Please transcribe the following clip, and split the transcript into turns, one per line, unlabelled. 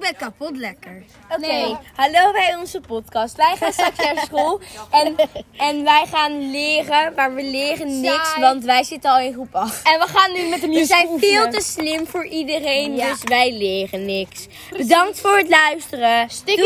ben kapot lekker.
Oh. Oké, hallo bij onze podcast. Wij gaan straks naar school en, en wij gaan leren, maar we leren niks,
Saai.
want wij zitten al in groep 8. En we gaan nu met de We zijn veel te slim voor iedereen, dus wij leren niks. Bedankt voor het luisteren. Sticky